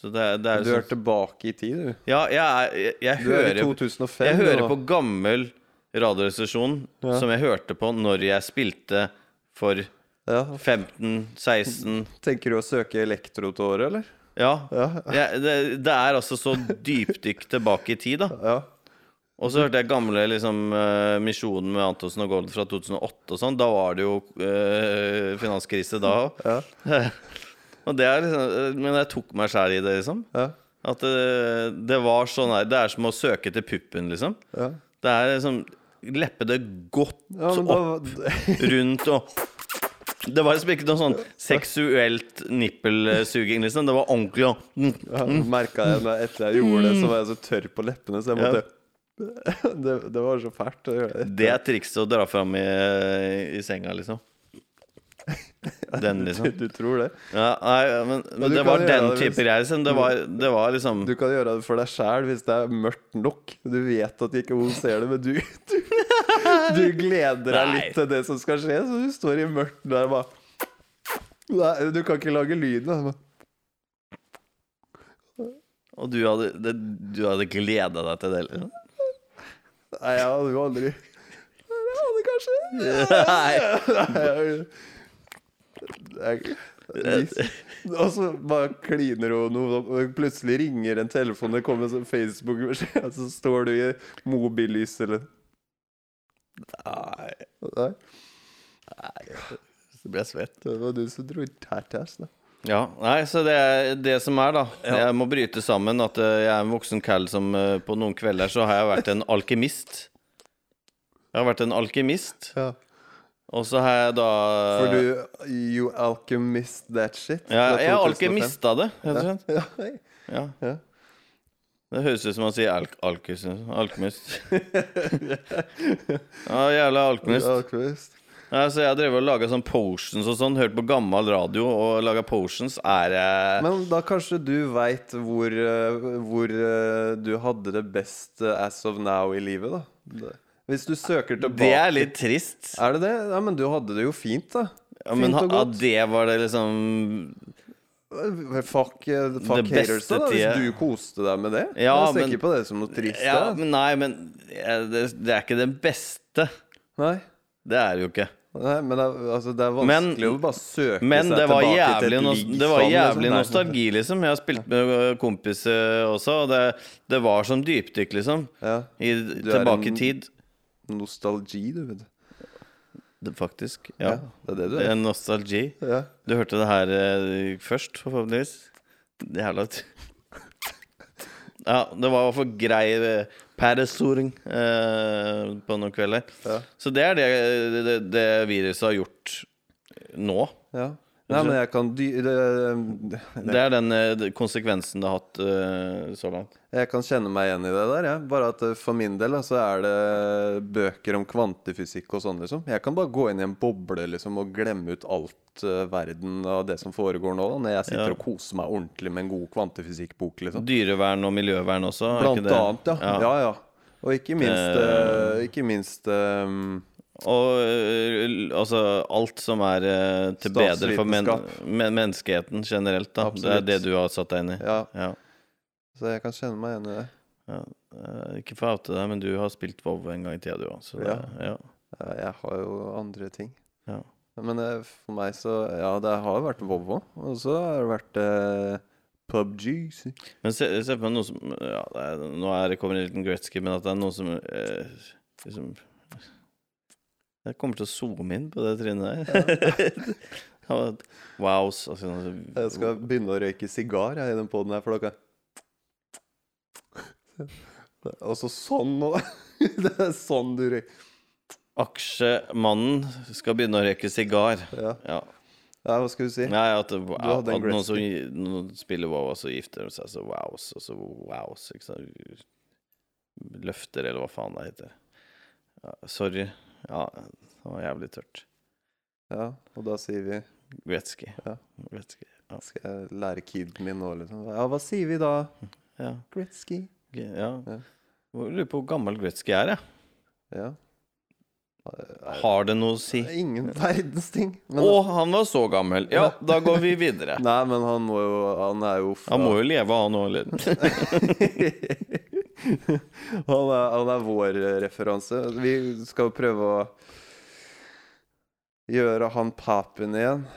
Så det, er- det er Du jo er sånn tilbake i tid, du. Ja, jeg, er- jeg, jeg Du er i hører 2005. Jeg du, hører da. på gammel radioresesjon Ja. som jeg hørte på når jeg spilte for ja. 15-16 Tenker du å søke elektrotåre, eller? Ja. Ja. Jeg, det, det er altså så dypdykk tilbake i tid, da. ja. Og så hørte jeg gamle liksom, eh, Misjonen med Antonsen og Gold fra 2008 og sånn. Da var det jo eh, finanskrise da òg. Ja. (laughs) Og det er liksom, men jeg tok meg sjæl i det, liksom. ja. At eh, det var sånn her Det er som å søke til puppen, liksom. ja. Det er liksom Leppe det godt ja men opp da rundt og Det var liksom ikke noe sånn seksuelt nippelsuging, liksom. Det var ordentlig og (laughs) ja, merka jeg når etter jeg gjorde det, så var jeg så tørr på leppene, så jeg Ja. måtte (laughs) det, det var så fælt å gjøre det. Det er trikset å dra fram i, i senga, liksom. (laughs) Den, liksom. Du tror det? Ja, nei, men, men du det kan var gjøre den det type hvis- greier. Liksom. Det, var, det var liksom Du kan gjøre det for deg sjæl hvis det er mørkt nok. Du vet at ikke hun ser det, men du (laughs) Du, du gleder deg Nei. litt til det som skal skje, så du står i mørkt der og bare Nei, du kan ikke lage lyden. da. Og du hadde, det, du hadde gleda deg til det? Liksom. Nei, jeg hadde jo aldri Jeg hadde kanskje Nei. Nei, jeg- Jeg- Og så bare kliner hun noe, og plutselig ringer en telefon, det kommer en sånn Facebook-beskjed, og så står du i mobillys eller Nei, Nei, så ble jeg svett. det var du som dro tærtæsj, da. Ja, nei, så det er det som er, da. Jeg må bryte sammen at eh, jeg er en voksen cal som eh, på noen kvelder så har jeg vært en alkemist. Jeg har vært en alkemist, Ja. og så har jeg da For du You alchemist that shit. Eh. ja, fra Jeg har 2005. alkemista det, rett og slett. Ja, hei. Ja. Ja. Det høres ut som man sier alk alkus, (laughs) alkemist. ja, jævla alkemist. Alchemist. Ja, så jeg har drevet og laga sånn potions og sånn. Hørt på gammel radio og laga potions. Er jeg Men da kanskje du veit hvor, eh, hvor eh, du hadde det best eh, as of now i livet, da. Det- Hvis du søker tilbake Det er litt trist. Er det det? Ja, men du hadde det jo fint, da. Ja, men fint og ha- at godt. det var det liksom Fuck, eh, fuck beste haters, da, da, tida. hvis du koste deg med det. Ja, jeg ser men- ikke på det som noe trist. Ja, da. men nei, men ja, det, det er ikke det beste. Nei. Det er det jo ikke. Nei, men det, er- altså, det er Men- vanskelig å bare søke Men seg det var tilbake jævlig, til et nos- ligg det var sånn, liksom. jævlig Nei. nostalgi, liksom. Jeg har spilt med ø, kompiser også, og det, det var som dypdykk, liksom. Ja, I, er tilbake en- i tid. nostalgi, du vet. Det, faktisk. Ja. Ja. det er det du Det er. er nostalgi. Ja. Du hørte det her eh, først, forhåpentligvis. Jævla t- Ja, det var i hvert fall grei eh, pæresoring eh, på noen kvelder. Ja. Så det er det, det, det viruset har gjort nå. ja. Nei, men jeg kan dy... Det, Det er den eh, de- konsekvensen det har hatt eh, så langt. jeg kan kjenne meg igjen i det der, jeg. Bare at eh, for min del da, så er det bøker om kvantefysikk og sånn, liksom. Jeg kan bare gå inn i en boble, liksom, og glemme ut alt eh, verden og det som foregår nå, da, når jeg sitter Ja. og koser meg ordentlig med en god kvantefysikkbok, liksom. Dyrevern og miljøvern også. er ikke Blant det? annet, ja. ja. Ja, Og ikke minst eh, Ikke minst eh, Og eh, altså alt som er eh, til bedre for men Statsvitenskap. men menneskeheten generelt. da Det Absolutt. er det du har satt deg inn i. Ja, Ja. så jeg kan kjenne meg igjen i det. Eh, Ikke for å oute deg, men du har spilt WoW en gang i tida, du òg. Så det, ja. Ja, Jeg har jo andre ting. Ja. Men eh, for meg så Ja, det har vært Vovo. Og så har det vært eh, PubG. si. Men se, se på noe som ja, det er, Nå er det kommer en liten Gretzky, men at det er noe som eh, liksom Jeg kommer til å zoome inn på det trinnet der. (laughs) Ja. wow. så- Altså, Jeg skal begynne å røyke sigar jeg, i den poden her, for dere. Og så sånn nå. (laughs) Det er sånn du røyker. Aksjemannen skal begynne å røyke sigar. Ja. Ja. ja, hva skal du si? Nei, at, det- at hadde en noen som noen spiller wow, og så gifter de seg, så wows, og så wows, ikke sant. Løfter, eller hva faen det heter. Ja, sorry. Ja, det var jævlig tørt. Ja, og da sier vi Gretzky. Ja. Gretzky. Skal jeg lære kiden min nå, liksom? Ja, hva sier vi da? Ja. Gretzky. g- ja. Ja. Hvor- Lurer på hvor gammel Gretzky er, jeg. Ja. Har det noe å si? Å, Ingen verdens ting. Men, han var så gammel! Ja, da går vi videre. (laughs) Nei, men han må jo Han er jo fra Han må jo leve, han òg, eller? (laughs) han, er, han er vår eh, referanse. Vi skal prøve å gjøre han papen igjen.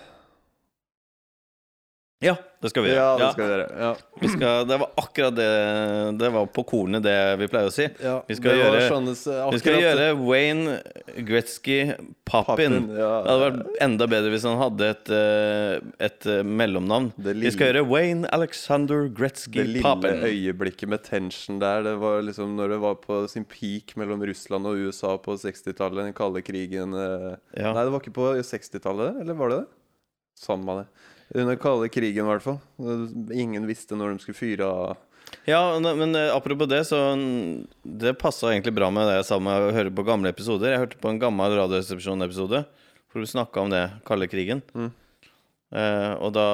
Ja, det skal vi Ja, gjøre. det Ja, skal vi gjøre. Ja. vi skal, det var akkurat det Det var på kornet, det vi pleier å si. Vi skal det var gjøre- sånne s- Vi skal akkurat gjøre Wayne Gretzky Pappin. papen, Ja. Det hadde vært enda bedre hvis han hadde et, eh, et eh, mellomnavn. Det Vi skal gjøre Wayne Alexander Gretzky Det lille Pappin. øyeblikket med tension der, det var liksom når det var på sin peak mellom Russland og USA på 60-tallet, den kalde krigen eh. Ja. Nei, det var ikke på 60-tallet, eller var det det? Samme det. Under kalde krigen, i hvert fall. Ingen visste når de skulle fyre av Ja, ne- men eh, apropos det, så mm, Det passa egentlig bra med det jeg sa med å høre på gamle episoder. Jeg hørte på en gammel Radioresepsjon-episode hvor du snakka om det, kalde krigen. Mm. Eh, og da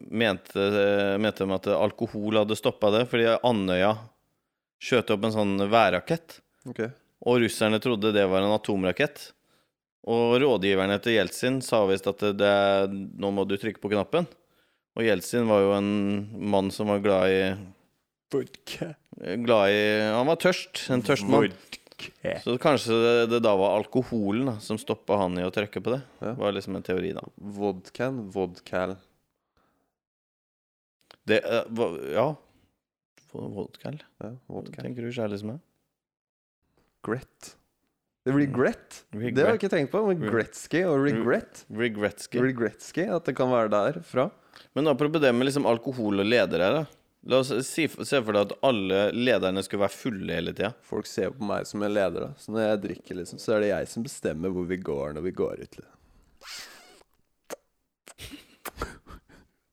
mente, eh, mente de at alkohol hadde stoppa det, fordi Andøya skjøt opp en sånn værrakett. Ok. Og russerne trodde det var en atomrakett. Og rådgiverne til Jeltsin sa visst at det, det, nå må du trykke på knappen. Og Jeltsin var jo en mann som var glad i Vodka. Glad i Han var tørst. En tørstmann. Ok. Så kanskje det, det da var alkoholen da, som stoppa han i å trykke på det. Ja. Var liksom en teori, da. Vodkan, vodkal. Det, eh, hva- ja. Vodka, eller? Ja, vodkal. Tenker du kjærlighet med? Gret. Det blir Mm. gret. Regret. Mm. Det har jeg ikke tenkt på. Men Re- Gretzky og regret. Regretsky. Regretsky, at det kan være derfra. Men apropos det med liksom alkohol og ledere. Da. La oss si, se for deg at alle lederne skulle være fulle hele tida. Folk ser jo på meg som en leder, da. Så når jeg drikker, liksom, så er det jeg som bestemmer hvor vi går når vi går ut. Liksom.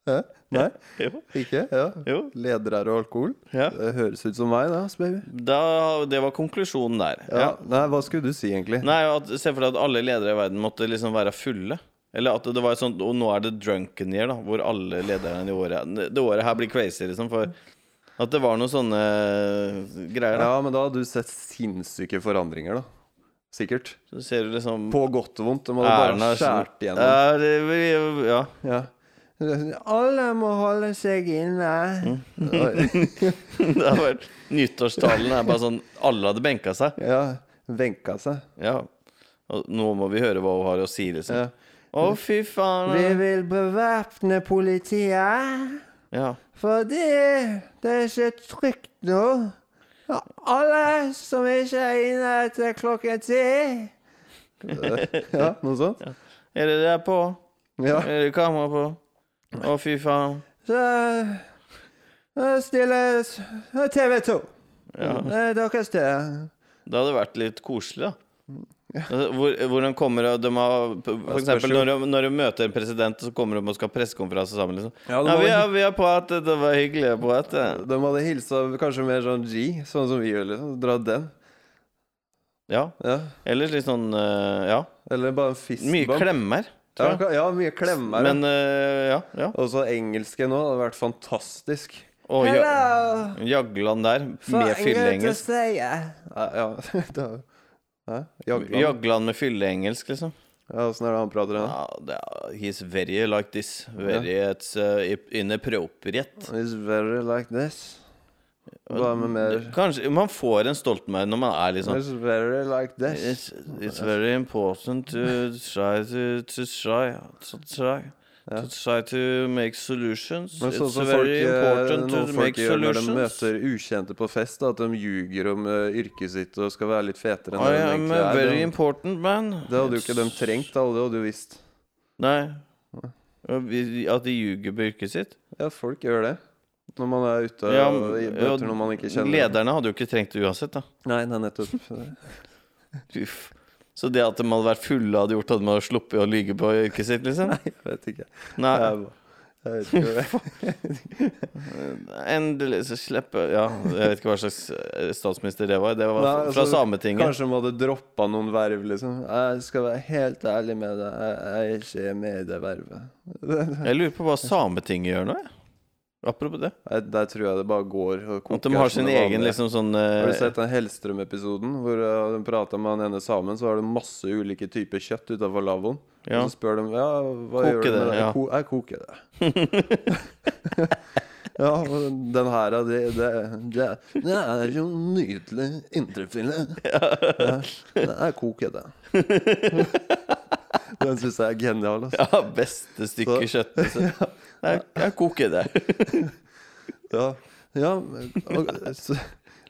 Hæ? Nei? Jo. Ikke? Ja. jo. Ledere og alkohol? Ja. Det høres ut som meg, da, baby. Da, det var konklusjonen der. Ja. Nei, hva skulle du si, egentlig? Nei, at, Se for deg at alle ledere i verden måtte liksom være fulle. Eller at det var et sånt Og nå er det drunken year, da, hvor alle lederne i året Det året her blir crazy, liksom. For at det var noen sånne eh, greier. da Ja, men da hadde du sett sinnssyke forandringer, da. Sikkert. Så ser du liksom På godt og vondt. De hadde bare skjært igjennom. Ja, det, vi- ja. (laughs) Ja. Alle må holde seg inne. Oi. Det har vært Nyttårstalen er bare sånn Alle hadde benka seg. Ja. Venka seg. Ja. Og nå må vi høre hva hun har å si, liksom. Ja. Å, fy faen. vil bevæpne politiet, Ja. fordi det er ikke trygt nå. Alle som ikke er inne etter klokken ti Ja, noe sånt? Er det der på? Ja. Er det kamera på? Å, fy faen. Så eh, stille s- TV 2. Ja. Deres sted. Det hadde vært litt koselig, da. Altså, Hvor, hvor de kommer og de har For spørs eksempel jo. når de, når de møter en president, så kommer de og skal ha pressekonferanse sammen. Liksom. Ja, Ja, det var- vi, har, vi har pratet, det var hyggelig å prate. De hadde hilsa kanskje mer sånn G, sånn som vi gjør. liksom Dra den. Ja. Ja. Eller litt sånn eh, Ja. Eller bare en fistbump. Mye klemmer. Ja, Tror jeg. ka- ja, mye klemmer. Men eh, ja. ja. Og så engelsken nå. Det hadde vært fantastisk. Og ja, Jagland der, med fylleengelsk. Ja, (laughs) ja. da- Hæ? Jagland? Jagland med fylleengelsk, liksom. Ja, Åssen er det han prater? da? Ja, det er, he's very like this. Very it's, uh, i- inappropriate. It's very like this. Hva med mer? Kanskje Man får en Stoltenberg når man er litt sånn It's very like this. It's, it's very important to try to, to try to try. To try to make solutions. Men sånn It's som folk, very eh, important noen to folk make gjør når de solutions. møter ukjente på fest, da, at de ljuger om eh, yrket sitt og skal være litt fetere enn I det de am a egentlig er. very Det- important man. Det hadde jo ikke de It's- trengt, da. Det hadde jo visst. Nei. At de ljuger på yrket sitt. Ja, folk gjør det. Når man er ute Ja, og i bøter ja, når man ikke kjenner Lederne hadde jo ikke trengt det uansett, da. (laughs) Nei, nei, nettopp. (laughs) Uff. Så det at de hadde vært fulle, hadde gjort at de hadde sluppet å lyge på yrket sitt, liksom? (laughs) Jeg vet ikke. Nei. Jeg, jeg vet ikke. (laughs) Endelig så slipper Ja, jeg vet ikke hva slags eh, statsminister det var. Det var Nei, fra altså, Sametinget. Kanskje de hadde droppa noen verv, liksom. Jeg skal være helt ærlig med deg, jeg jeg er ikke med i det vervet. (laughs) Nei, Jeg lurer på hva Sametinget gjør nå, jeg. Apropos det. Der tror jeg det bare går og koker. At de har som sin det egen vanlige. liksom sånn Har du eh, sett den Hellstrøm-episoden hvor eh, de prater med han ene samen, så har de masse ulike typer kjøtt utafor lavvoen. ja. Og så spør de ja, hva Koke gjør du med det, det? ja. Ko jeg koker det. (laughs) ja, og den her er det, det, det, det er jo nydelig indrefilet. Ja, jeg koker det. den syns jeg er genial. (laughs) Altså. ja, beste stykke Så- kjøtt. (laughs) liksom. Jeg, jeg koker det. Ja, ja og, så,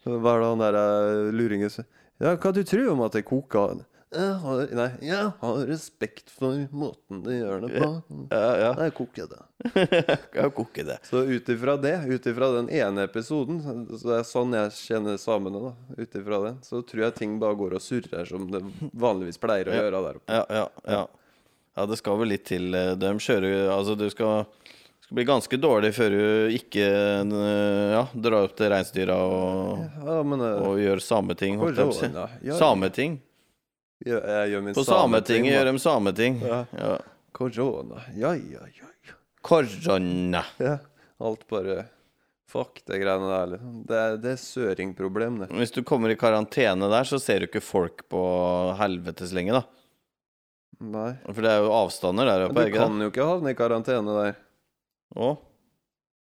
Hva er det han der eh, luringen sier? Ja, hva du tror om at jeg koker? Jeg har, nei, jeg har respekt for måten de gjør det på. Ja, ja. Jeg koker det. Jeg koker det. Så ut ifra det, ut ifra den ene episoden, så det er sånn jeg kjenner samene, da, ut ifra den, så tror jeg ting bare går og surrer som det vanligvis pleier å gjøre der oppe. Ja, ja, ja. ja det skal vel litt til. eh, De kjører jo Altså, du skal, skal bli ganske dårlig før du ikke eh, ja, drar opp til reinsdyra og, Ja, men eh, og gjør sameting. holdt jeg på å si. korona, ja, Sameting. Jeg, jeg gjør min På sameting, Sametinget da. gjør de sameting. Ja. Ja. Korona, ja, ja, ja. ja. Korona. ja. Alt bare Fuck det greiene der, liksom. Det er, det er søringproblem, det. Hvis du kommer i karantene der, så ser du ikke folk på helvetes lenge, da. Nei. For det er jo avstander der Men oppe. Du ikke det? kan jo ikke havne i karantene der. Å?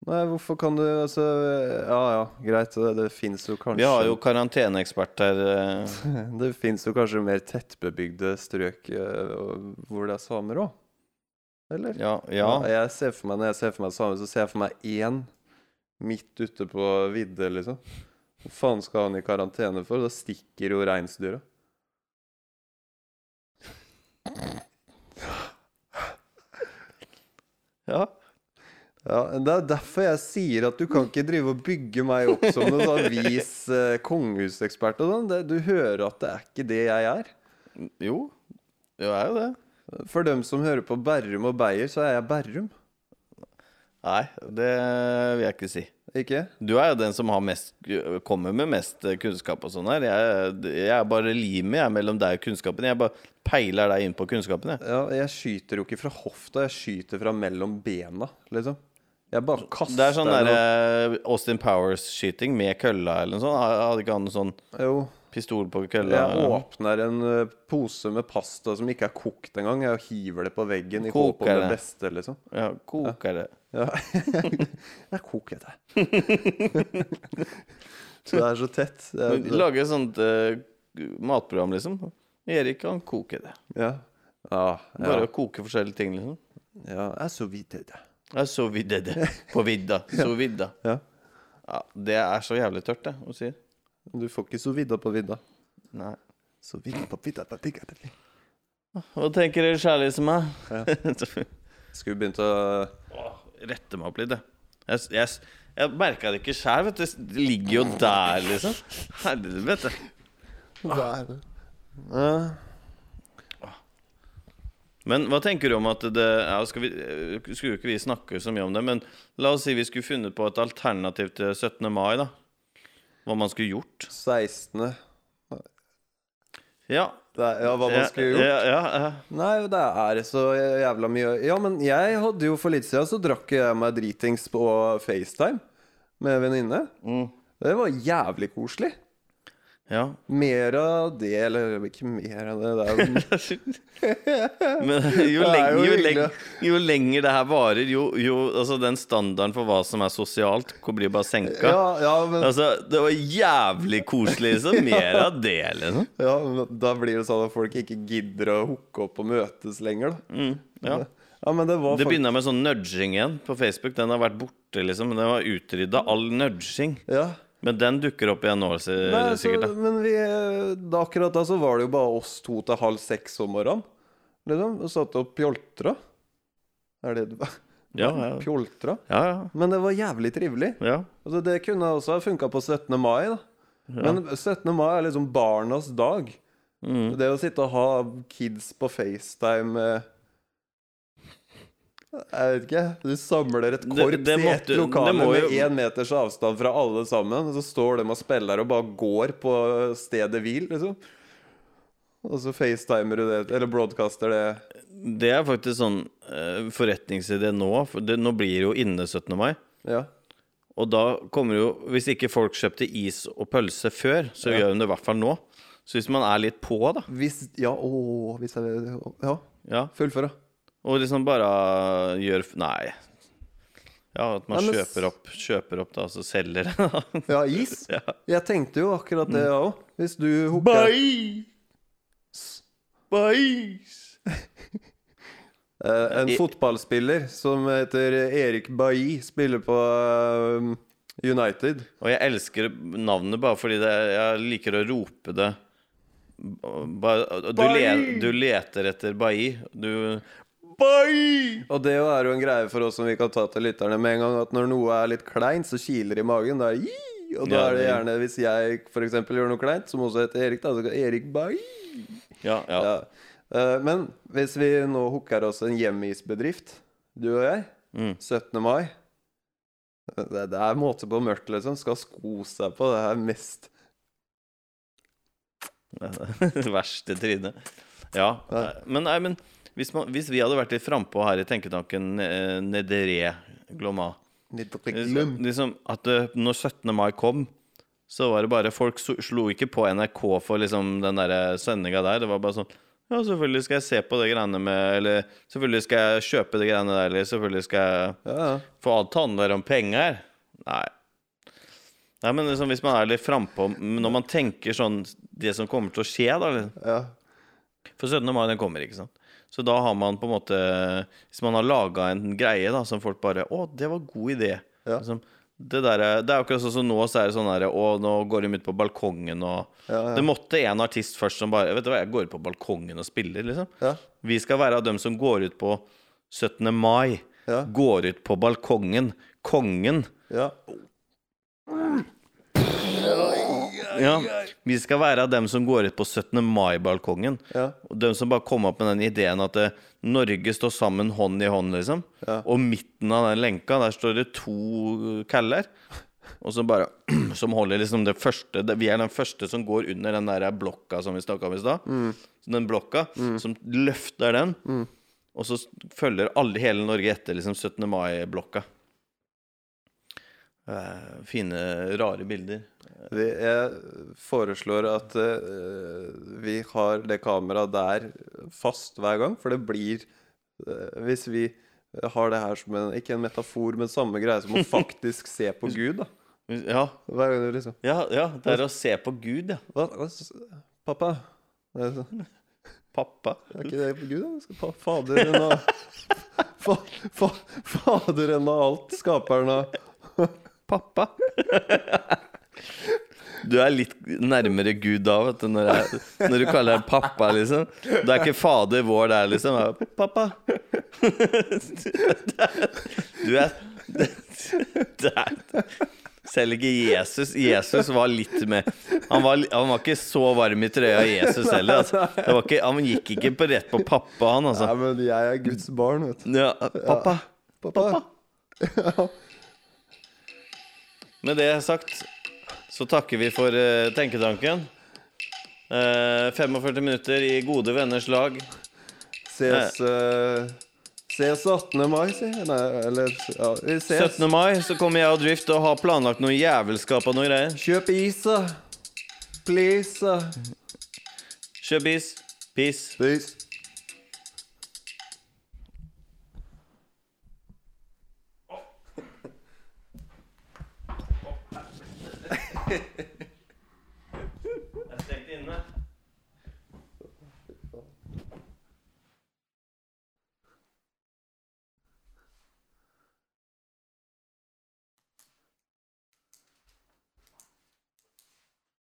Nei, hvorfor kan du altså Ja ja, greit, det, det fins jo kanskje Vi har jo karanteneekspert her. eh, (laughs) Det fins jo kanskje mer tettbebygde strøk eh, og- hvor det er samer òg? Eller? Ja, ja. Jeg ser for meg, Når jeg ser for meg samer, så ser jeg for meg én midt ute på vidde, liksom. Hva faen skal han i karantene for? Da stikker jo reinsdyra. ja. Ja, Det er derfor jeg sier at du kan ikke drive og bygge meg opp som noen sånn vis eh, kongehusekspert og sånn. Det- Du hører at det er ikke det jeg er. Jo. Jo, er jo det. For dem som hører på Berrum og Beyer, så er jeg Berrum. Nei, det vil jeg ikke si. Ikke? Du er jo den som har mest, kommer med mest kunnskap og sånn her. Jeg, jeg er bare limet jeg, mellom deg og kunnskapen. Jeg bare peiler deg inn på kunnskapen, jeg. Ja, jeg skyter jo ikke fra hofta, jeg skyter fra mellom bena, liksom. Jeg bare kaster Det er sånn noe- derre Austin Powers-skyting med kølla eller noe sånt. Hadde ikke han en sånn Jo. pistol på kølla? Jeg åpner en ø, pose med pasta som ikke er kokt engang. Jeg hiver det på veggen i håp om Koker det det. beste, liksom. Ja, koker det. Ja. (laughs) jeg koker det. (laughs) så det er så tett. Det er, det, Lage et sånt eh, matprogram, liksom. Erik, han koker det. ja. Ja, ja, Bare å koke forskjellige ting, liksom. ja. Jeg er så vidt til det. Ja, så vidde (laughs) det. På vidda. Så vidda. Ja. Ja, det er så jævlig tørt, det, hun sier. Du får ikke så vidda på vidda. Nei. Så vidda på vidda på vidda. på vidda. Hva tenker dere kjærlighet som meg? (laughs) Skulle vi begynt å Rette meg opp litt, jeg. Jeg, jeg, jeg merka det ikke sjæl, vet du. Det ligger jo der, liksom. Helvete. Ja. Men hva tenker du om at det ja, skal vi, eh, Skulle jo ikke vi snakke så mye om det, men la oss si vi skulle funnet på et alternativ til 17. mai, da. Hva man skulle gjort. 16. Ja. Det er, ja, hva man skulle gjort? Ja, ja, ja. Nei, det er så jævla mye Ja, men jeg hadde jo for litt siden så drakk jeg meg dritings på FaceTime med en venninne. Mm. Det var jævlig koselig. ja. (laughs) Mer av det, eller ikke mer av det, det er (laughs) jo Men jo, Det er leng, jo jo, hyggelig. leng, jo lenger det her varer, jo, jo altså, Den standarden for hva som er sosialt, blir bare senka. Ja, ja, men, Altså, det var jævlig koselig, (laughs) liksom. Mer av det, liksom. ja, men da blir det sånn at folk ikke gidder å hooke opp og møtes lenger, da. Mm, ja. Ja, men det var Det faktisk begynner med sånn nudging igjen på Facebook. Den har vært borte, liksom. Den var utrydda, all nudging. ja. Men den dukker opp igjen nå, si- Nei, altså- så, Eh, sikkert. Da. men vi, eh, da, akkurat da så var det jo bare oss to til halv seks om morgenen. Liksom, og satt og pjoltra. Er det det (laughs) Ja, ja. Pjoltra? Ja, Men det var jævlig trivelig. ja. ja. Altså, det kunne også ha funka på 17. mai, da. Men 17. mai er liksom barnas dag. Mm. Det å sitte og ha kids på FaceTime eh, Jeg vet ikke. Du samler et korps det i ett måtte- lokale det må jo- med én meters avstand fra alle sammen, og så står de og spiller og bare går på stedet hvil, liksom. Og så facetimer du det, eller broadcaster det. Det er faktisk sånn eh, forretningsidé nå. For det, nå blir det jo inne 17. mai. Ja. Og da kommer jo Hvis ikke folk kjøpte is og pølse før, så gjør de det i hvert fall nå. Så hvis man er litt på, da Hvis Ja, å, hvis jeg Ja, ja. fullfør, da. Og liksom bare gjør Nei. Ja, at man Ja, men s- kjøper opp, kjøper opp da, så selger det. (laughs) da. Ja, is? (laughs) Ja. Mm. Jeg tenkte jo akkurat det, jeg òg. Hvis du hooker Bais! Bais! Eh, En I- fotballspiller som heter Erik Bailly, spiller på eh, United. Og jeg elsker navnet bare fordi det, jeg liker å rope det. Bare, du, le, Bai! du leter etter Bai. Du Bai! Og det er jo en greie for oss som vi kan ta til lytterne med en gang, at når noe er litt kleint, så kiler det i magen. Da er det «Ii!» og da Ja, er det det- gjerne, hvis jeg f.eks. gjør noe kleint, som også heter Erik, da, så kan Erik Bailly. Ja, ja. Ja. Eh, Men hvis vi nå hooker oss en hjemmeisbedrift, du og jeg, Mm. (laughs) 17. mai det, det er måte på mørkt, liksom. Skal sko seg på. Det er mest Det verste trynet. Ja. Ja. Men, nei, men hvis, man, hvis vi hadde vært litt frampå her i tenketanken eh, Nedre Glomma litt liksom, liksom At eh, når 17. mai kom, så var det bare Folk so- slo ikke på NRK for liksom den eh, der sendinga der. Det var bare sånn Ja, selvfølgelig skal jeg se på det greiene med Eller selvfølgelig skal jeg kjøpe det greiene der, eller selvfølgelig skal jeg Ja, ja. få alt handler om penger. Nei. Nei, men liksom, hvis man er litt frampå Når man tenker sånn Det som kommer til å skje, da liksom. ja. For 17. mai, den kommer, ikke sant? Så da har man på en måte Hvis man har laga en greie da som folk bare Å, det var god idé. Ja. Liksom, det, der, er- det er akkurat sånn som nå, så er det sånn derre Å, nå går de ut på balkongen og Ja, ja. Det måtte en artist først som bare Vet du hva, jeg går ut på balkongen og spiller, liksom. Ja. Vi skal være av dem som går ut på 17. mai. Ja. Går ut på balkongen. Kongen. Ja. Ja. Vi skal være av dem som går ut på 17. mai-balkongen. Ja. Og De som bare kom opp med den ideen at eh, Norge står sammen hånd i hånd, liksom. Ja. Og midten av den lenka, der står det to caller. Og så bare (clears throat) Som holder liksom det første det, Vi er den første som går under den der blokka som vi snakka om i stad. Mm. Så Den blokka som løfter den. Og så følger alle, hele Norge etter, liksom 17. mai-blokka. Eh, fine, rare bilder. Vi, jeg foreslår at eh, vi har det kameraet der fast hver gang, for det blir eh, Hvis vi har det her som en, ikke en metafor, men samme greie som å faktisk se på Gud, da. Ja, Hver gang du liksom ja, ja det er å se på Gud, ja. hva, hva, s- Pappa? Er sånn. det så- Pappa. er ikke det på Gud, da? Skal pa, faderen av fa, fa, Faderen av alt. Skaperen av Pappa. (laughs) Du er litt nærmere Gud da, vet du, når, jeg, når du kaller deg pappa, liksom. Du er ikke fader vår der, liksom. Det er Pappa. (laughs) Du er (laughs) det er- Selv ikke Jesus. Jesus var litt med Han var, han var ikke så varm i trøya, Jesus heller. Altså. Det var ikke, han gikk ikke på rett på pappa, han, altså. Nei, men jeg er Guds barn, vet du. Ja, pappa. Pappa? Med det sagt så takker vi for eh, tenketanken. Eh, 45 minutter i gode venners lag. Ses eh, Ses 18. mai, sier jeg. Nei, eller ja, Vi ses. 17. mai så kommer jeg og Drift og har planlagt noe jævelskap og noe greier. Kjøp is, da. Please. da. Kjøp is. Peace. Please.